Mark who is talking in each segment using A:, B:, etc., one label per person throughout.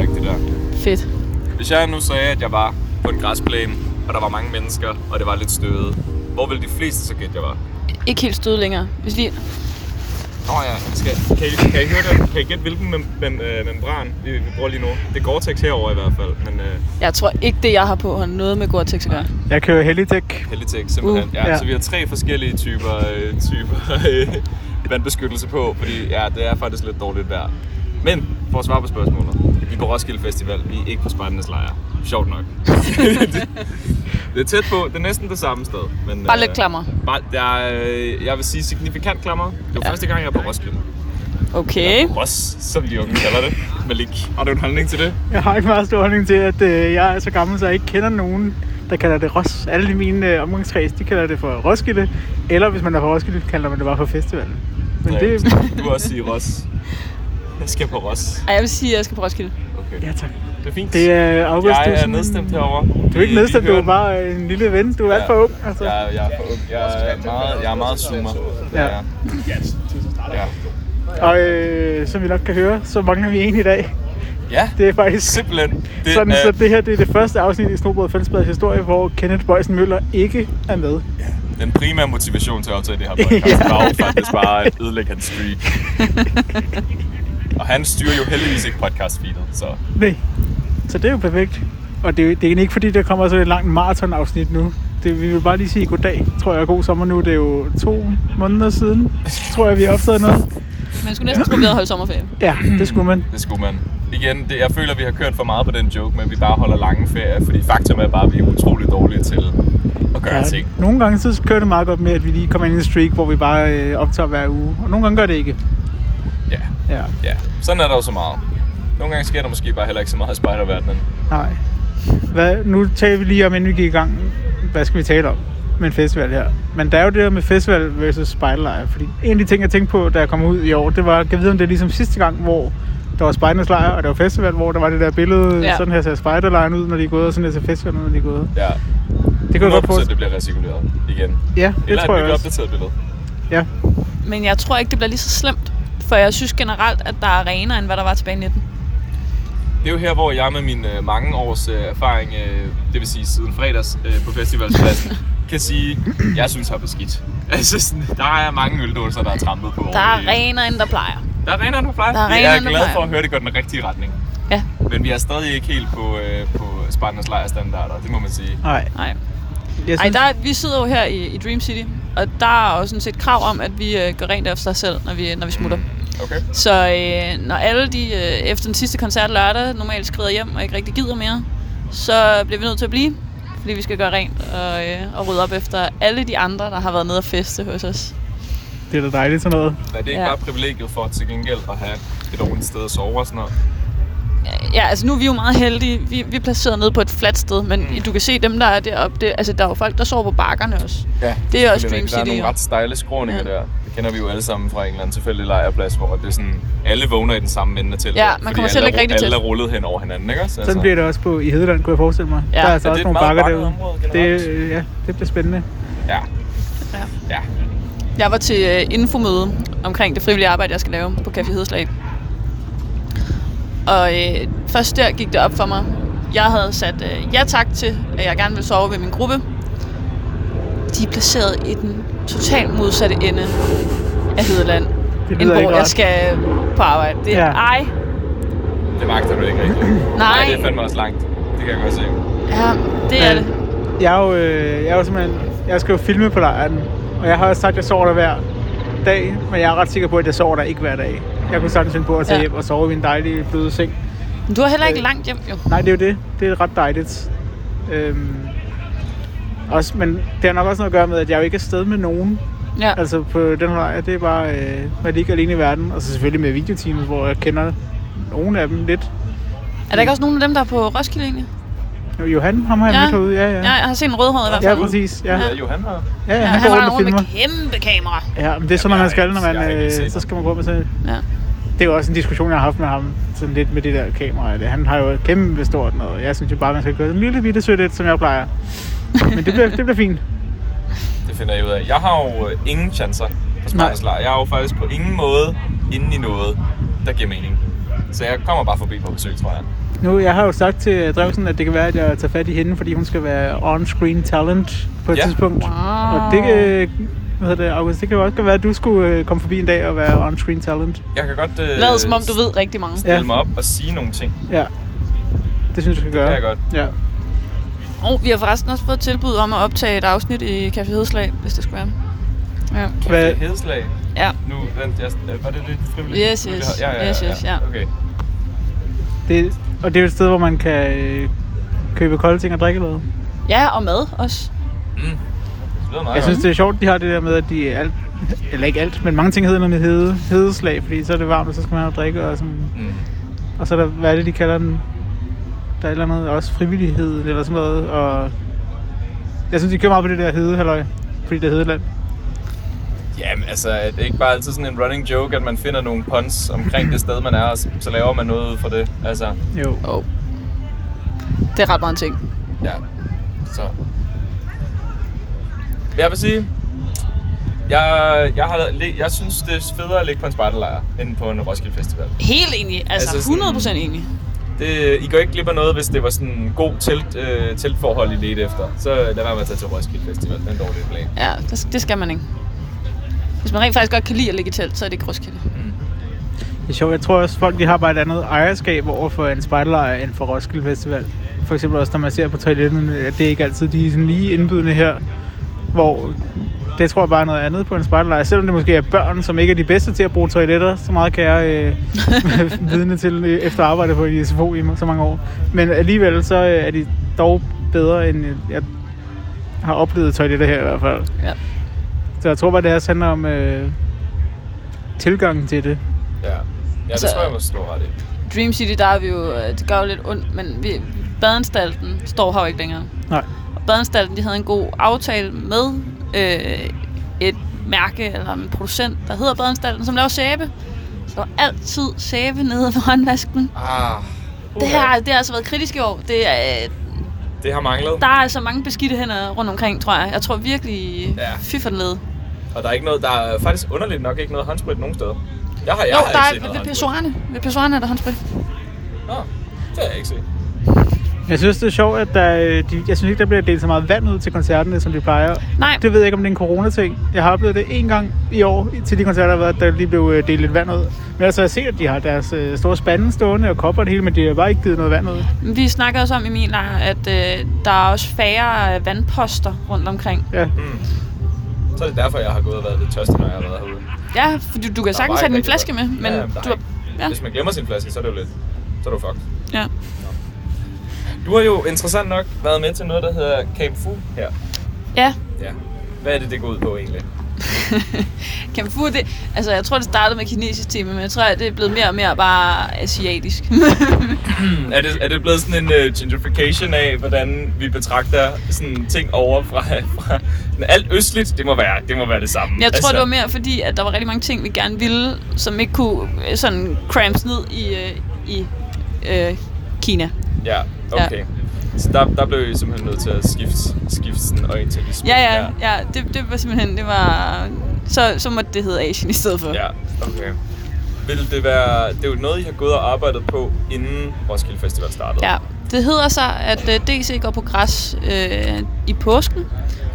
A: ikke det der.
B: Fedt.
A: Hvis jeg nu sagde, at jeg var på en græsplæne, og der var mange mennesker, og det var lidt støvet, hvor ville de fleste så gætte, jeg var?
B: Ikke helt stød længere. Hvis lige...
A: Nå ja, skal, kan, I, kan I høre det? Kan I gætte, hvilken mem- mem- øh, membran vi, vi bruger lige nu? Det er Gore-Tex herovre i hvert fald, men øh,
B: Jeg tror ikke, det jeg har på, har noget med Gore-Tex at gøre.
C: Jeg kører Helitech.
A: Helitex simpelthen.
B: Uh,
A: Uh, ja,
C: ja.
A: ja. Så vi har tre forskellige typer, øh, typer øh, vandbeskyttelse på, fordi ja, det er faktisk lidt dårligt vejr. Men for at svare på spørgsmålet, vi er på Roskilde Festival, vi er ikke på Spartanes Lejr. Sjovt nok. det er tæt på, det er næsten det samme sted. Men, øh,
B: Bare lidt klammer.
A: Bare, der er, øh, jeg vil sige signifikant klammer. Det var
B: Ja.
A: ja. første gang, jeg er på Roskilde.
B: Okay.
A: Ros, som de unge kalder det. Malik, har du en holdning til det?
C: Jeg har ikke meget stor holdning til, at øh, jeg er så gammel, så jeg ikke kender nogen, der kalder det Ros. Alle mine øh, omgangskreds, de kalder det for Roskilde. Eller hvis man er fra Roskilde, kalder man det bare for festivalen. Men
A: Ja,
C: det...
A: Du vil også sige Ros. Jeg skal på Ros.
B: Ej, jeg vil sige, at jeg skal på Roskilde.
A: Okay.
C: Ja, tak.
A: Det er fint.
C: Det er August,
A: Jeg
C: du
A: er
C: sådan-
A: nedstemt herovre.
C: Du er ikke nedstemt, du er bare øh, en lille ven. Du er alt for ung. Altså.
A: Jeg, er- jeg er for ung. Jeg er meget, jeg er meget zoomer.
C: Ja.
A: Ja. Ja.
C: Og øh, som vi nok kan høre, så mangler vi en i dag.
A: ja.
C: Det er faktisk
A: Simpelthen.
C: det, sådan, så det her det er det første afsnit i Snobrød Fællesbladets historie, hvor Kenneth Bøjsen Møller ikke er med.
A: den primære motivation til at optage det her podcast,
C: Ja.
A: var jo faktisk bare at ødelægge hans streak. Og han styrer jo heldigvis ikke podcast-feedet, så
C: Nej. Så det er jo perfekt. Og det, er jo- det er egentlig ikke fordi, der kommer sådan et langt maratonafsnit nu. Det, vi vil bare lige sige goddag, tror jeg, og god sommer nu. Det er jo to måneder siden, tror jeg, vi har optaget noget.
B: Man skulle næsten tro, at vi havde holdt sommerferie.
C: Ja, det skulle man.
A: det skulle man. Igen, det, jeg føler, vi har kørt for meget på den joke med, at vi bare holder lange ferier, fordi faktum er bare, at vi er utrolig dårlige til at gøre ja. ting.
C: nogle gange så kører det meget godt med, at vi lige kommer ind i en streak, hvor vi bare øh, optager hver uge. Og nogle gange gør det ikke.
A: Ja,
C: Ja,
A: ja. Sådan er der jo så meget. Nogle gange sker der måske bare heller ikke så meget i spejderverdenen.
C: nej. Hvad, nu taler vi lige om, inden vi gik i gang, hvad skal vi tale om med en festival her. Men der er jo det der med festival versus spejderlejr. Fordi en af de ting, jeg tænkte på, da jeg kom ud i år, det var, kan vide, om det er ligesom sidste gang, hvor der var spejdernes lejr, og der var festival, hvor der var det der billede,
B: Ja.
C: ja. sådan her ser spejderlejren ud, når de er gået, og sådan her ser festivalen ud, når de er gået.
A: Ja,
C: Det kan jeg godt
A: 100%
C: forstå.
A: det bliver recirkuleret igen.
C: Ja, det
A: Eller
C: tror
A: et
C: jeg
A: nyt
C: også.
A: opdateret billede.
C: Ja.
B: Men jeg tror ikke, det bliver lige så slemt. For jeg synes generelt, at der er renere, end hvad der var tilbage i 19.
C: Oh,
A: Det er jo her, hvor jeg med min øh, mange års øh, erfaring, øh, det vil sige siden fredags øh, på festivalspladsen, kan sige, jeg synes, har beskidt. Altså, sådan, der er mange øldåser, der er trampet på.
B: Der er
A: over det hele.
B: renere, end der plejer.
A: Der er renere, end der plejer.
B: Der er renere,
A: jeg er
B: end der
A: glad
B: plejer.
A: for at høre, det går den rigtige retning.
B: Ja,
A: Men vi er stadig ikke helt på, øh, på Spartans lejrstandarder, det må man sige.
C: Nej,
B: nej.
C: jeg
B: Ej,
C: synes,
B: der, er- vi sidder jo her i, i Dream City, og der er jo sådan set krav om, at vi øh, gør rent efter os selv, når vi, når vi smutter.
A: Okay.
B: Så øh, når alle de øh, efter den sidste koncert lørdag normalt skrider hjem og ikke rigtig gider mere, så bliver vi nødt til at blive, fordi vi skal gøre rent og, øh, og rydde op efter alle de andre, der har været nede og feste hos os.
C: det er da dejligt sådan noget.
A: Er det ikke
B: Ja.
A: ja. bare privilegiet for til gengæld at have et ordentligt sted at sove og sådan noget?
B: Ja, altså nu er vi jo meget heldige. Vi, vi er placeret nede på et fladt sted, men mm. du kan se dem, der er deroppe. Det, altså, der er jo folk, der sover på bakkerne også.
A: Ja,
B: Det er
A: selvfølgelig
B: også Dream
A: rigtigt. Der er
B: City,
A: nogle
B: jo.
A: ret stejle skråninger
B: Ja.
A: ja. der. Det kender vi jo alle sammen fra en eller anden tilfældig lejrplads, hvor det er sådan, alle vågner i den samme ende til.
B: Ja, man kommer til at lægge rigtig tæt.
A: Alle er rullet hen over hinanden, ikke også?
C: Sådan bliver det også på i Hedeland, kunne jeg forestille mig.
B: Ja.
C: Ja. Der er altså
A: Altså. Ja, det
C: også
A: er et meget
C: nogle bakker
A: bakket
C: derude.
A: område generelt.
C: Det, øh, ja, det bliver spændende.
A: Ja.
B: Ja.
A: ja.
B: Jeg var til øh, infomøde omkring det frivillige arbejde, jeg skal lave på Café Hedeslag. Og øh, først der gik det op for mig. Jeg havde sat øh, ja tak til, at jeg gerne ville sove ved min gruppe. De er placeret i den totalt modsatte ende af Hedeland. end
C: lyder ikke
B: hvor jeg
C: rart.
B: skal på arbejde. Det er, ja.
C: Ja.
B: ej,
A: Det magter du ikke rigtigt.
B: nej,
A: det er fandme også langt. Det kan jeg godt se.
B: ja, det er det.
C: Jeg er jo, øh, jeg er jo simpelthen, jeg skal jo filme på lejren, og jeg har også sagt, at jeg sover der hver dag, men jeg er ret sikker på, at jeg sover der ikke hver dag. Jeg kunne sagtens finde på at tage
B: Ja.
C: ja. hjem og sove i en dejlig, bløde seng.
B: Men du har heller ikke langt hjem, jo.
C: Nej, det er jo det. Det er ret dejligt. Øhm, også, men det har nok også noget at gøre med, at jeg jo ikke er afsted med nogen.
B: Ja.
C: Altså på den her lejr, det er bare, øh, man ligger alene i verden. Og så selvfølgelig med videoteamet, hvor jeg kender nogen af dem lidt.
B: Er der ikke også nogen af dem, der er på Roskilde egentlig?
C: Johan, ham har jeg
B: Ja.
C: ja. mødt herude. Ja, ja.
B: Ja, jeg har set en rødhåret i hvert
C: Ja,
B: fald.
C: præcis. Ja,
A: Ja,
C: ja,
A: Johan har...
C: ja,
B: Ja,
C: han,
B: han
C: går
B: var
C: rundt og
B: rundt
C: filmer.
B: med kæmpe kamera.
C: Ja, men det er sådan
A: Jamen,
C: noget,
A: jeg
C: man
A: har
C: skal,
A: ikke-
C: når man,
A: jeg har ikke
C: øh,
A: set
C: så
A: det.
C: skal man gå med sådan
B: Ja.
C: Det er jo også en diskussion, jeg har haft med ham, sådan lidt med det der kamera. og Det. Han har jo et kæmpe stort noget. Jeg synes jo bare, man skal gøre en lille bitte sødt et, som jeg plejer. Men det bliver, det bliver fint.
A: Det finder jeg ud af. Jeg har jo øh, ingen chancer på Spartans lejr. Jeg er jo faktisk på ingen måde inde i noget, der giver mening. Så jeg kommer bare forbi på besøg, tror jeg.
C: Nu, jeg har jo sagt til Drevsen, at det kan være, at jeg tager fat i hende, fordi hun skal være on-screen talent på et
A: Ja.
C: tidspunkt.
B: Wow.
C: Og det øh, kan, hvad hedder det, August, det kan jo også godt være, at du skulle øh, komme forbi en dag og være on-screen talent.
A: Jeg kan godt øh,
B: Lad som om du ved rigtig mange.
A: stille
C: Ja.
A: mig op og sige nogle ting.
C: Ja. Det synes jeg, du skal gøre.
A: kan jeg godt.
C: Ja.
B: Og vi har forresten også fået tilbud om at optage et afsnit i Café Hedslag, hvis det skulle være. Ja.
C: Hvad-
A: Hvad? Hedeslag.
B: Ja.
A: Nu, vent, jeg, øh, var det lidt frivilligt?
B: Yes, yes.
A: Ja, ja, ja,
B: Yes, yes, ja.
A: Okay. Mm.
C: Det, og det er jo et sted, hvor man kan øh, købe kolde ting og drikke noget.
B: ja, og mad også.
A: Mm. Det lyder meget
C: Jeg
A: godt.
C: synes, det er sjovt, de har det der med, at de alt, eller ikke alt, men mange ting hedder noget med hede, hedeslag, fordi så er det varmt, og så skal man have noget at drikke, og, sådan,
A: Mm.
C: og så er der, hvad er det, de kalder den? Der er et eller andet, også frivillighed, eller sådan noget, og jeg synes, de kører meget på det der hede, halløj, fordi det er hedeland.
A: Jamen altså, er det ikke bare altid sådan en running joke, at man finder nogle puns omkring det sted, man er, og så, så laver man noget ud fra det? Altså,
C: Jo.
B: Oh. Det er ret meget en ting.
A: ja. Så. Jeg vil sige, jeg, jeg, har, le- jeg synes, det er federe at ligge på en spejderlejr, end på en Roskilde Festival.
B: Helt enig. Altså,
A: Altså
B: altså
A: sådan-
B: 100% enig.
A: Det, I går ikke glip af noget, hvis det var sådan en god telt, øh, teltforhold, I ledte efter. Så lad være med at tage til Roskilde Festival. Den dårlige plan.
B: Ja, det, det skal man ikke. Hvis man rent faktisk godt kan lide at ligge i telt, så er det ikke Roskilde.
A: Mm.
C: Det er sjovt. Jeg tror også, folk de har bare et andet ejerskab over for en spejderlejr end for Roskilde Festival. For eksempel også, når man ser på toiletterne, at det ikke altid de er sådan lige indbydende her. Hvor det tror jeg bare er noget andet på en spejderlejr. Selvom det måske er børn, som ikke er de bedste til at bruge toiletter, så meget kan jeg øh, vidne til øh, efter arbejde på i SFO i så mange år. Men alligevel så øh, er de dog bedre, end øh, jeg har oplevet toiletter her i hvert fald.
B: Ja.
C: Så jeg tror bare, det også handler om øh, tilgangen til det.
A: Ja, ja det
B: Så-
A: tror jeg, man slår ret i.
B: Dream City, der er vi jo... øh, Det gør jo lidt ondt, men vi, badeanstalten står her jo ikke længere.
C: Nej.
B: Og badeanstalten, de havde en god aftale med øh, et mærke eller en producent, der hedder badeanstalten, som laver sæbe. Så der var altid sæbe nede ved håndvasken.
A: Ah,
B: Det her det har altså været kritisk i år. Det er, øh,
A: det har manglet.
B: der er altså mange beskidte hænder rundt omkring, tror jeg. Jeg tror virkelig,
A: Ja.
B: ja. fy for den led.
A: Og der er, ikke noget, der er faktisk underligt nok ikke noget håndsprit nogen steder. Jeg har, jeg
B: Jo,
A: har
B: der
A: ikke
B: er
A: set noget
B: ved
A: håndsprit.
B: pissoirerne. Ved pissoirerne er der håndsprit.
A: Nå, det har jeg ikke set.
C: Jeg synes, det er sjovt, at der, øh, de, jeg synes ikke, der bliver delt så meget vand ud til koncerterne, som de plejer.
B: Nej,
C: Det ved jeg ikke, om det er en corona-ting. Jeg har oplevet det en gang i år til de koncerter, der har været, der lige blev øh, delt lidt vand ud. Men altså, jeg ser, at de har deres øh, store spande stående og kopper og det hele, men de har bare ikke givet noget vand ud.
B: vi snakker også om i min lejr, at øh, der er også færre øh, vandposter rundt omkring.
C: Ja.
A: Mm. Så er det derfor, jeg har gået og været lidt tørstig, når jeg har været herude.
B: Ja, for du, du kan
A: Der var
B: sagtens
A: ikke
B: have din
A: rigtig
B: flaske med,
A: noget.
B: men
A: ja, jamen, der
B: du
A: er
B: har...
A: ikke-
B: Ja,
A: Hvis man glemmer sin flaske, så er det jo lidt. Så er du fucked.
B: ja.
A: Du har jo interessant nok været med til noget, der hedder Camp Fu her.
B: ja.
A: Ja. Hvad er det, det går ud på egentlig?
B: Kan fu det? Altså, jeg tror, det startede med kinesisk time, men jeg tror, det er blevet mere og mere bare asiatisk.
A: Mm, Er det, er det blevet sådan en uh, gentrification af, hvordan vi betragter sådan ting over fra, fra men alt østligt? Det må være det, må være det samme. Altså,
B: jeg tror, det var mere fordi, at der var rigtig mange ting, vi gerne ville, som ikke kunne øh, sådan cramps ned i, øh, i øh, Kina.
A: Ja, okay. Ja. Så der, der blev I simpelthen nødt til at skifte, skifte sådan orientalisme.
B: Ja, ja, ja. Det, det var simpelthen, det var... Så, så måtte det hedde Asien i stedet for.
A: Ja, okay. Vil det være, det er jo noget, I har gået og arbejdet på, inden Roskilde Festival startede.
B: ja. Det hedder så, at øh, DC går på græs øh, i påsken,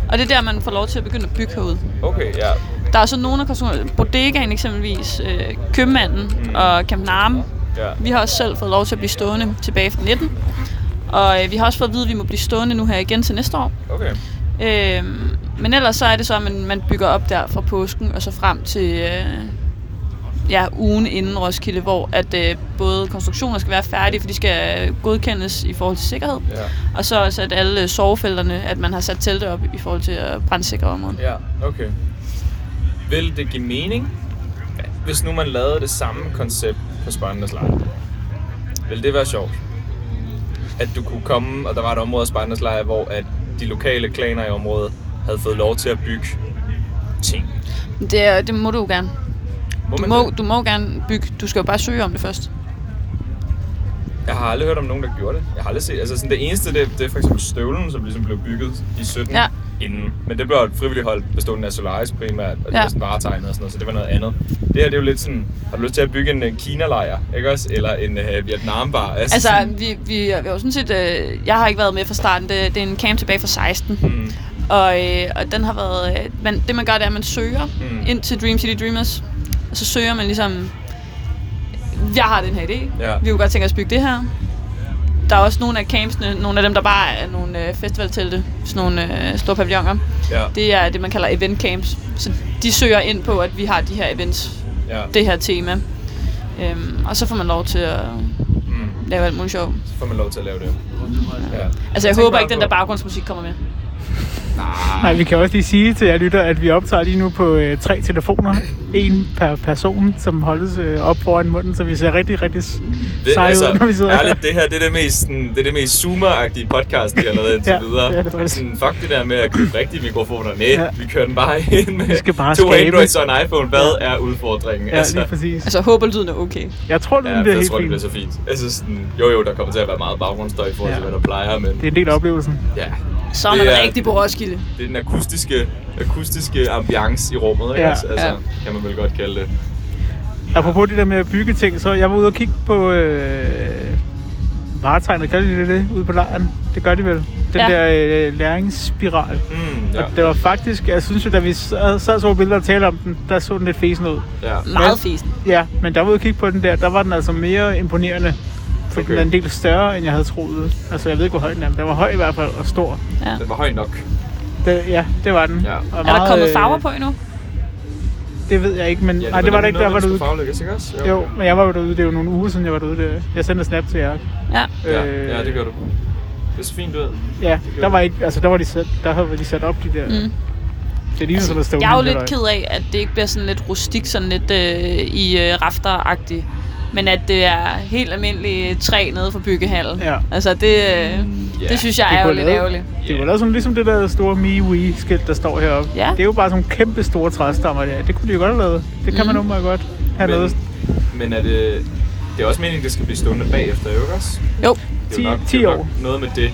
B: og det er der, man får lov til at begynde at bygge herude.
A: Okay, ja.
B: Der er så nogle af konstruktionerne, Bodegaen eksempelvis, øh, Købmanden
A: Mm.
B: mm. og Camp Narme.
A: ja.
B: Vi har også selv fået lov til at blive stående tilbage fra 19. Og øh, vi har også fået at vide, at vi må blive stående nu her igen til næste år.
A: Okay.
B: Øh, men ellers så er det så, at man, man bygger op der fra påsken og så frem til øh, ja, ugen inden Roskilde, hvor at øh, både konstruktioner skal være færdige, for de skal øh, godkendes i forhold til sikkerhed.
A: Ja.
B: Og så også, at alle øh, sovefelterne, at man har sat teltet op i forhold til at brandsikre området.
A: Ja, okay. Vil det give mening, hvis nu man lavede det samme koncept på Spartans Lejr? Vil det være sjovt? At du kunne komme, og der var et område af Spartans Lejr, hvor at de lokale klaner i området havde fået lov til at bygge ting.
B: Det, er- det må du jo gerne.
A: Må
B: Du
A: man
B: må,
A: det?
B: du må gerne bygge. Du skal jo bare søge om det først.
A: Jeg har aldrig hørt om nogen, der gjorde det. Jeg har aldrig set, altså sådan det eneste, det, det er for eksempel støvlen, som ligesom blev bygget i 17.
B: Ja.
A: inden. Men det blev et frivilligt hold bestående af Solaris primært, og det
B: Ja.
A: var sådan varetegnet og sådan noget, så det var noget andet. Det her det er jo lidt sådan, har du lyst til at bygge en øh, Kina-lejr, ikke også? Eller en øh, Vietnam-bar?
B: Altså,
A: sådan-
B: vi, vi, vi er jo sådan set... Øh, jeg har ikke været med fra starten. Det, det er en camp tilbage fra 16.
A: Mm.
B: Og, øh, og den har været... Øh, man, det man gør, det er, at man søger
A: Mm.
B: mm. ind til Dream City Dreamers. Og så søger man ligesom... Jeg har den her idé.
A: Ja.
B: Vi kunne godt tænke os at bygge det her. Der er også nogle af campsene, nogle af dem, der bare er nogle øh, festivaltelte, sådan nogle øh, store pavilloner.
A: Ja,
B: Det er det, man kalder event camps. Så de søger ind på, at vi har de her events,
A: ja.
B: det her tema. Øhm, og så får man lov til at
A: Mm.
B: lave alt muligt sjovt.
A: Så får man lov til at lave det. Ja.
B: Altså, jeg
A: tænker
B: håber
A: bare
B: ikke, den
A: på-
B: der baggrundsmusik kommer med.
C: Nej, vi kan også lige sige til jer lytter, at vi optager lige nu på øh, tre telefoner. En per person, som holdes øh, op foran munden, så vi ser rigtig, rigtig s-
A: Det,
C: seje
A: altså,
C: ud, når vi sidder her.
A: ærligt, det her det er det mest, sådan, det er det mest zoomer-agtige podcast, vi har lavet indtil
C: Ja,
A: videre.
C: det er det faktisk.
A: sådan, fuck det der med at købe rigtige mikrofoner. Nej, ja.
C: Ja.
A: vi kører den bare ind med
C: skal bare
A: to
C: skabe.
A: Androids og en iPhone. Hvad er udfordringen?
C: Ja, lige præcis.
B: Altså, jeg håber, lyden er okay.
C: Jeg tror, det
A: Ja,
C: bliver
A: jeg
C: helt
A: tror, det bliver
C: fint.
A: så fint. Altså sådan, jo jo, der kommer til at være meget baggrundsstøj i forhold til,
C: Ja.
A: hvad der plejer, men
C: Det er en del af oplevelsen.
A: ja,
B: Så er man
A: Det er-
B: rigtig på Roskilde.
A: det er den akustiske, akustiske ambiance i rummet, ikke?
C: Ja.
A: Altså, altså,
B: Ja.
A: kan man vel godt kalde det. Mm,
C: Apropos det der med at bygge ting, så jeg var ude og kigge på øh, varetegnet, kalder de det det, ude på lejren. Det gør de vel. Den
B: Ja.
C: der øh, læringsspiral.
A: Mm, ja,
C: Og det var faktisk, jeg synes jo, da vi sad sad så billeder og talte om den, der så den lidt fesen ud.
A: ja.
B: Meget fesen.
C: Ja, men der var ude og kigge på den der, der var den altså mere imponerende. For
A: Okay.
C: den er en del større, end jeg havde troet. Altså, jeg ved ikke, hvor høj den er, men den var høj i hvert fald, og stor.
B: Ja.
A: Den var høj nok.
C: Det, ja, det var den.
A: Ja.
C: Og
B: Er der
C: meget,
B: kommet
C: øh,
B: farver på endnu?
C: Det ved jeg ikke, men... Ja,
A: det
C: nej, det var der ikke, der var derude.
A: Faglægges, ikke også?
C: Jo, men jeg var jo derude, det er jo nogle uger siden, jeg var derude. Det. Jeg sendte en snap til jer.
B: Ja.
A: Ja,
C: Øh,
A: ja, det gør du. Det så fint ud.
C: Ja,
A: gør
C: der var
A: det.
C: ikke, altså der var de sat, der havde de sat op de der,
B: Mm. Altså,
C: mm. det ligner sådan noget stående.
B: Jeg er jo lidt ked af, at det ikke bliver sådan lidt rustik, sådan lidt øh, i øh, rafteragtigt. Men at det er helt almindeligt træ nede fra byggehallen.
C: Ja.
B: Altså, det, øh,
A: ja.
B: det synes jeg
C: Det
B: er jo
C: kunne
B: lidt
C: lave-
B: ærgerligt.
C: Det var lavet sådan ligesom det der store MeWe skilt, der står heroppe.
B: Ja.
C: Det er jo bare sådan nogle kæmpe store træstammer der. Det kunne de jo godt have lavet. Det kan mm. man åbenbart godt have
A: Men,
C: lavet.
A: men er det, det er også meningen, det skal blive stående bagefter, ikke også?
B: Jo,
A: Det er jo
C: 10
A: nok, det er
C: 10
A: jo nok
C: år.
A: Noget med det.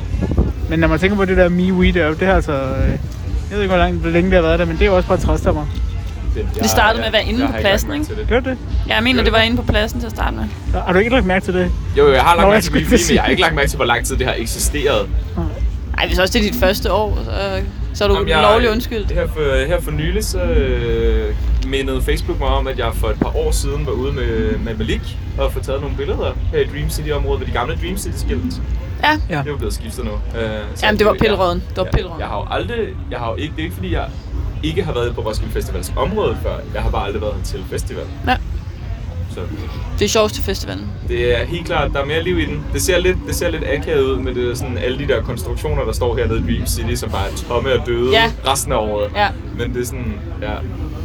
C: Men når man tænker på det der MeWe deroppe, det har altså... øh, Jeg ved ikke, hvor langt, hvor længe det har været der, men det er jo også bare træstammer.
A: det jeg,
B: Det startede med at være
A: jeg-
B: inde
A: jeg
B: på
A: har
B: pladsen,
A: lagt mærke til
C: Gør det?
B: jeg mener, det var inde på pladsen til at starte med.
C: Nå, Har du ikke lagt mærke til det?
A: det? Jo, jo, jeg har lagt
C: Nå,
A: mærke
C: jeg
A: til
C: skulle
A: Vivi, men
C: sige-
A: jeg har ikke lagt mærke til, hvor lang tid det har eksisteret.
B: Ej, hvis også det er dit første år, så, så er du
A: Jamen,
B: Jamen, lovlig undskyld.
A: Her for, her for nylig, så øh, mindede Facebook mig om, at jeg for et par år siden var ude med, med Malik og få taget nogle billeder her i Dream City-området ved de gamle Dream City-skilt.
B: Ja,
C: Ja.
A: Det er jo blevet skiftet nu. Øh, så
B: Jamen, det var
A: jeg-
B: pillerøden. Det var pillerøden.
A: Jeg, jeg har jo aldrig... Jeg har jo ikke, det er ikke, fordi jeg ikke har været på Roskilde Festivals område før. Jeg har bare aldrig været til festival.
B: ja.
A: Så
B: det er sjovt til festivalen.
A: det er helt klart, der er mere liv i den. Det ser lidt, det ser lidt akavet ud med det, sådan, alle de der konstruktioner, der står hernede i Dream City, som bare er tomme og døde
B: Ja.
A: resten af året.
B: Ja.
A: Men det er sådan, ja.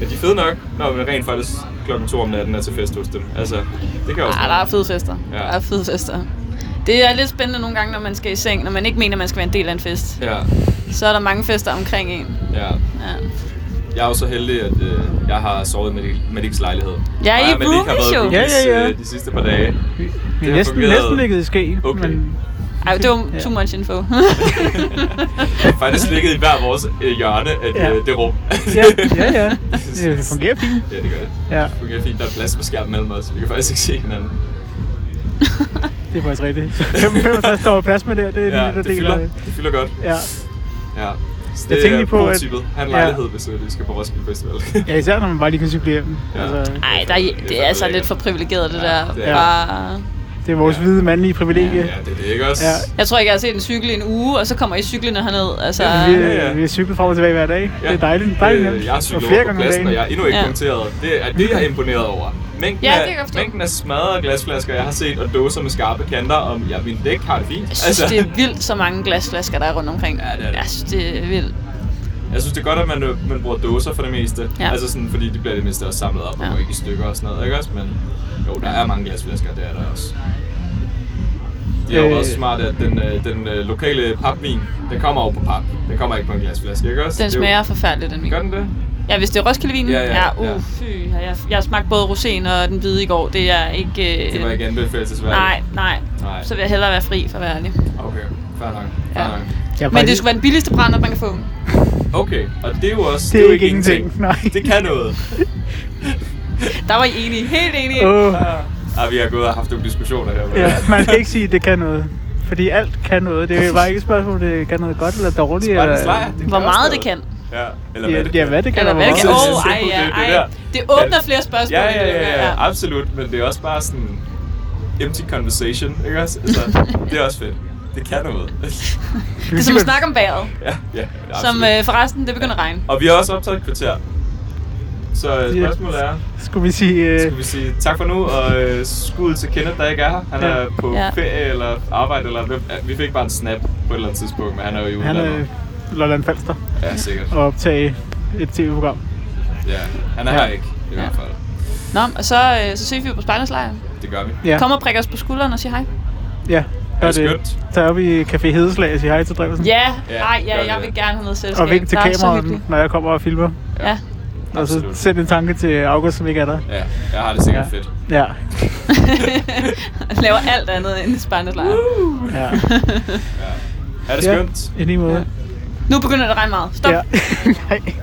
A: Men de er fede nok, når man rent faktisk klokken 2 om natten er til fest hos dem. Altså, det kan også
B: Ja, Ah, der er fede fester.
A: Ja.
B: Ja. Der er fede fester. Det er lidt spændende nogle gange, når man skal i seng, når man ikke mener, man skal være en del af en fest.
A: Ja,
B: Så er der mange fester omkring en.
A: ja.
B: Ja.
A: Jeg er jo så heldig, at øh, jeg har sovet med Maliks lejlighed.
B: Ja,
A: Mig
B: I
A: og Malik har været
B: roomies jo.
A: roomies,
C: Ja, ja, ja.
A: øh, de sidste par dage.
C: Vi
A: har
C: er næsten,
A: fungeret.
C: næsten ligget i ske,
A: Okay.
C: men
B: Ej, det var
C: Ja.
B: too much info.
A: Vi har faktisk ligget i hver vores øh, hjørne af ja.
C: Ja.
A: øh, det rum.
C: ja, ja, ja. Det fungerer fint.
A: Ja, det gør det.
C: Ja,
A: Det fungerer fint. Der er plads på skærmen mellem os. Vi kan faktisk ikke se hinanden.
C: det er faktisk rigtigt. 55 står plads med der, det er ja,
A: Ja,
C: den der
A: det
C: del
A: fylder,
C: af det.
A: det fylder godt.
C: Ja.
A: ja. Så
C: Jeg
A: det
C: tænkte
A: er
C: lige på, at-
A: prototypet. Han
C: Ja.
A: lejlighed, hvis øh, vi skal på Roskilde Festival.
C: ja, især når man bare lige kan cykle hjem.
A: Ja.
C: Ja. Altså,
B: Nej, der, er- det er altså lidt for privilegeret, det der.
A: det er det.
B: Bare...
C: det er vores
A: Ja.
C: hvide mandlige privilegie.
A: ja, det er det, ikke også?
C: Ja.
B: Jeg tror ikke, jeg har set en cykel i en uge, og så kommer I cyklen herned. Altså,
C: Vi,
A: Ja, ja.
C: vi cykler frem og tilbage hver dag.
A: Ja.
C: Det er dejligt. dejligt nemt.
A: Øh, jeg har
C: Og
A: cyklet
C: flere
A: over på
C: gange om
A: pladsen,
C: dagen.
A: og jeg er endnu ikke ja.
B: Ja.
A: punkteret. Det er det, jeg er imponeret over. Mængden,
B: Ja, det kan jeg
A: af,
B: forstå.
A: mængden af smadrede glasflasker, jeg har set, og dåser med skarpe kanter, om ja, min dæk har det fint. Altså,
B: jeg synes, det er vildt, så mange glasflasker, der er rundt omkring.
A: Ja, det er det.
B: Jeg synes, det er vildt.
A: Jeg synes, det er godt, at man, øh, man bruger dåser for det meste. Ja.
B: Ja.
A: Altså sådan, fordi de bliver det meste også samlet op og
B: Ja.
A: går ikke i stykker og sådan noget, ikke også? Men jo, der er mange glasflasker, det er der også. Det er jo
C: Øh.
A: også smart, at den, øh, den øh, lokale papvin, den kommer over på pap. Den kommer ikke på en glasflaske, ikke også?
B: Den
A: Det er jo-
B: smager forfærdeligt, den vin.
A: Gør den det?
B: Ja, hvis det er Roskilde-vinen.
A: Ja, ja,
B: ja.
A: ja.
B: Uh, fy, jeg, jeg smagte både roséen og den hvide i går. Det er ikke... Øh,
A: Det var ikke anbefalesværdigt.
B: Nej, nej,
A: Nej.
B: nej. Så vil jeg hellere være fri, for at være ærlig.
A: Okay, fair nok. Fair
B: Ja.
A: nok.
C: Jeg er
B: Men det
C: faktisk-
B: skulle være den billigste brænder, man kan få.
A: Okay, og det er jo også...
C: Det er
A: jo
C: ikke ingenting, nej.
A: Det kan noget.
B: Der var I enige. Helt enige.
C: Åh,
A: Ah, vi har gået og haft nogle diskussioner her.
C: ja, man kan ikke sige, at det kan noget. Fordi alt kan noget. Det er bare ikke et spørgsmål, om det kan noget godt eller dårligt.
A: Spartans
C: eller-
A: lejr, det
B: Hvor
A: kan også
B: meget det
A: noget.
B: kan.
A: Ja, eller hvad
C: Ja,
A: det
C: ja, hvad det kan.
B: Eller
C: og
B: hvad det
C: hvor
B: kan.
C: meget.
B: Åh, ej, ja, ej. Det åbner flere spørgsmål.
A: Ja,
B: end det
A: ja,
B: lukker,
A: ja, ja, absolut, men det er også bare sådan empty conversation, ikke også? Altså, det er også fedt. Det kan noget.
B: Det er som at snakke om vejret,
A: ja, ja, absolut.
B: som øh, forresten, det begynder at regne.
A: Og vi har også optaget et kvarter. Så øh,
C: Ja.
A: spørgsmålet er,
C: Skulle vi sige... Øh,
A: skal vi sige tak for nu, og øh, skud til Kenneth, der ikke er her. Han er
C: Ja.
A: på
B: Ja.
A: ferie eller arbejde, eller hvem- vi fik bare en snap på et eller andet tidspunkt, men han er jo i
C: han
A: udlandet.
C: er Lolland Falster
A: Ja, sikkert.
C: og optage et tv-program.
A: Ja, han er
C: Ja.
A: her ikke, i hvert fald.
B: Nå, og så, øh, så ses vi jo på Spejderslejren.
A: Det gør vi.
C: Ja,
B: Kom og prik os på skulderen og sig hej.
C: ja. Gør
A: det
C: det.
A: skønt?
C: Tag op i Café Hedeslag og sige hej til Drevelsen.
B: Ja,
A: Ja,
B: nej,
A: gør
B: ja,
A: det.
B: jeg vil gerne have noget selskab.
C: Og vink til
B: Der er så
C: kameraet,
B: hyggeligt.
C: når jeg kommer og filmer.
B: Ja.
C: Og så
A: Absolut.
C: send en tanke til August, som ikke er der.
A: Ja, jeg har det sikkert
C: Ja.
A: fedt.
C: Ja,
B: Laver alt andet end Spejderslejren.
C: ja.
A: Er det
C: ja.
A: skønt?
C: I lige måde.
B: Nu begynder det at regne meget. Stop.
C: Ja. Nej.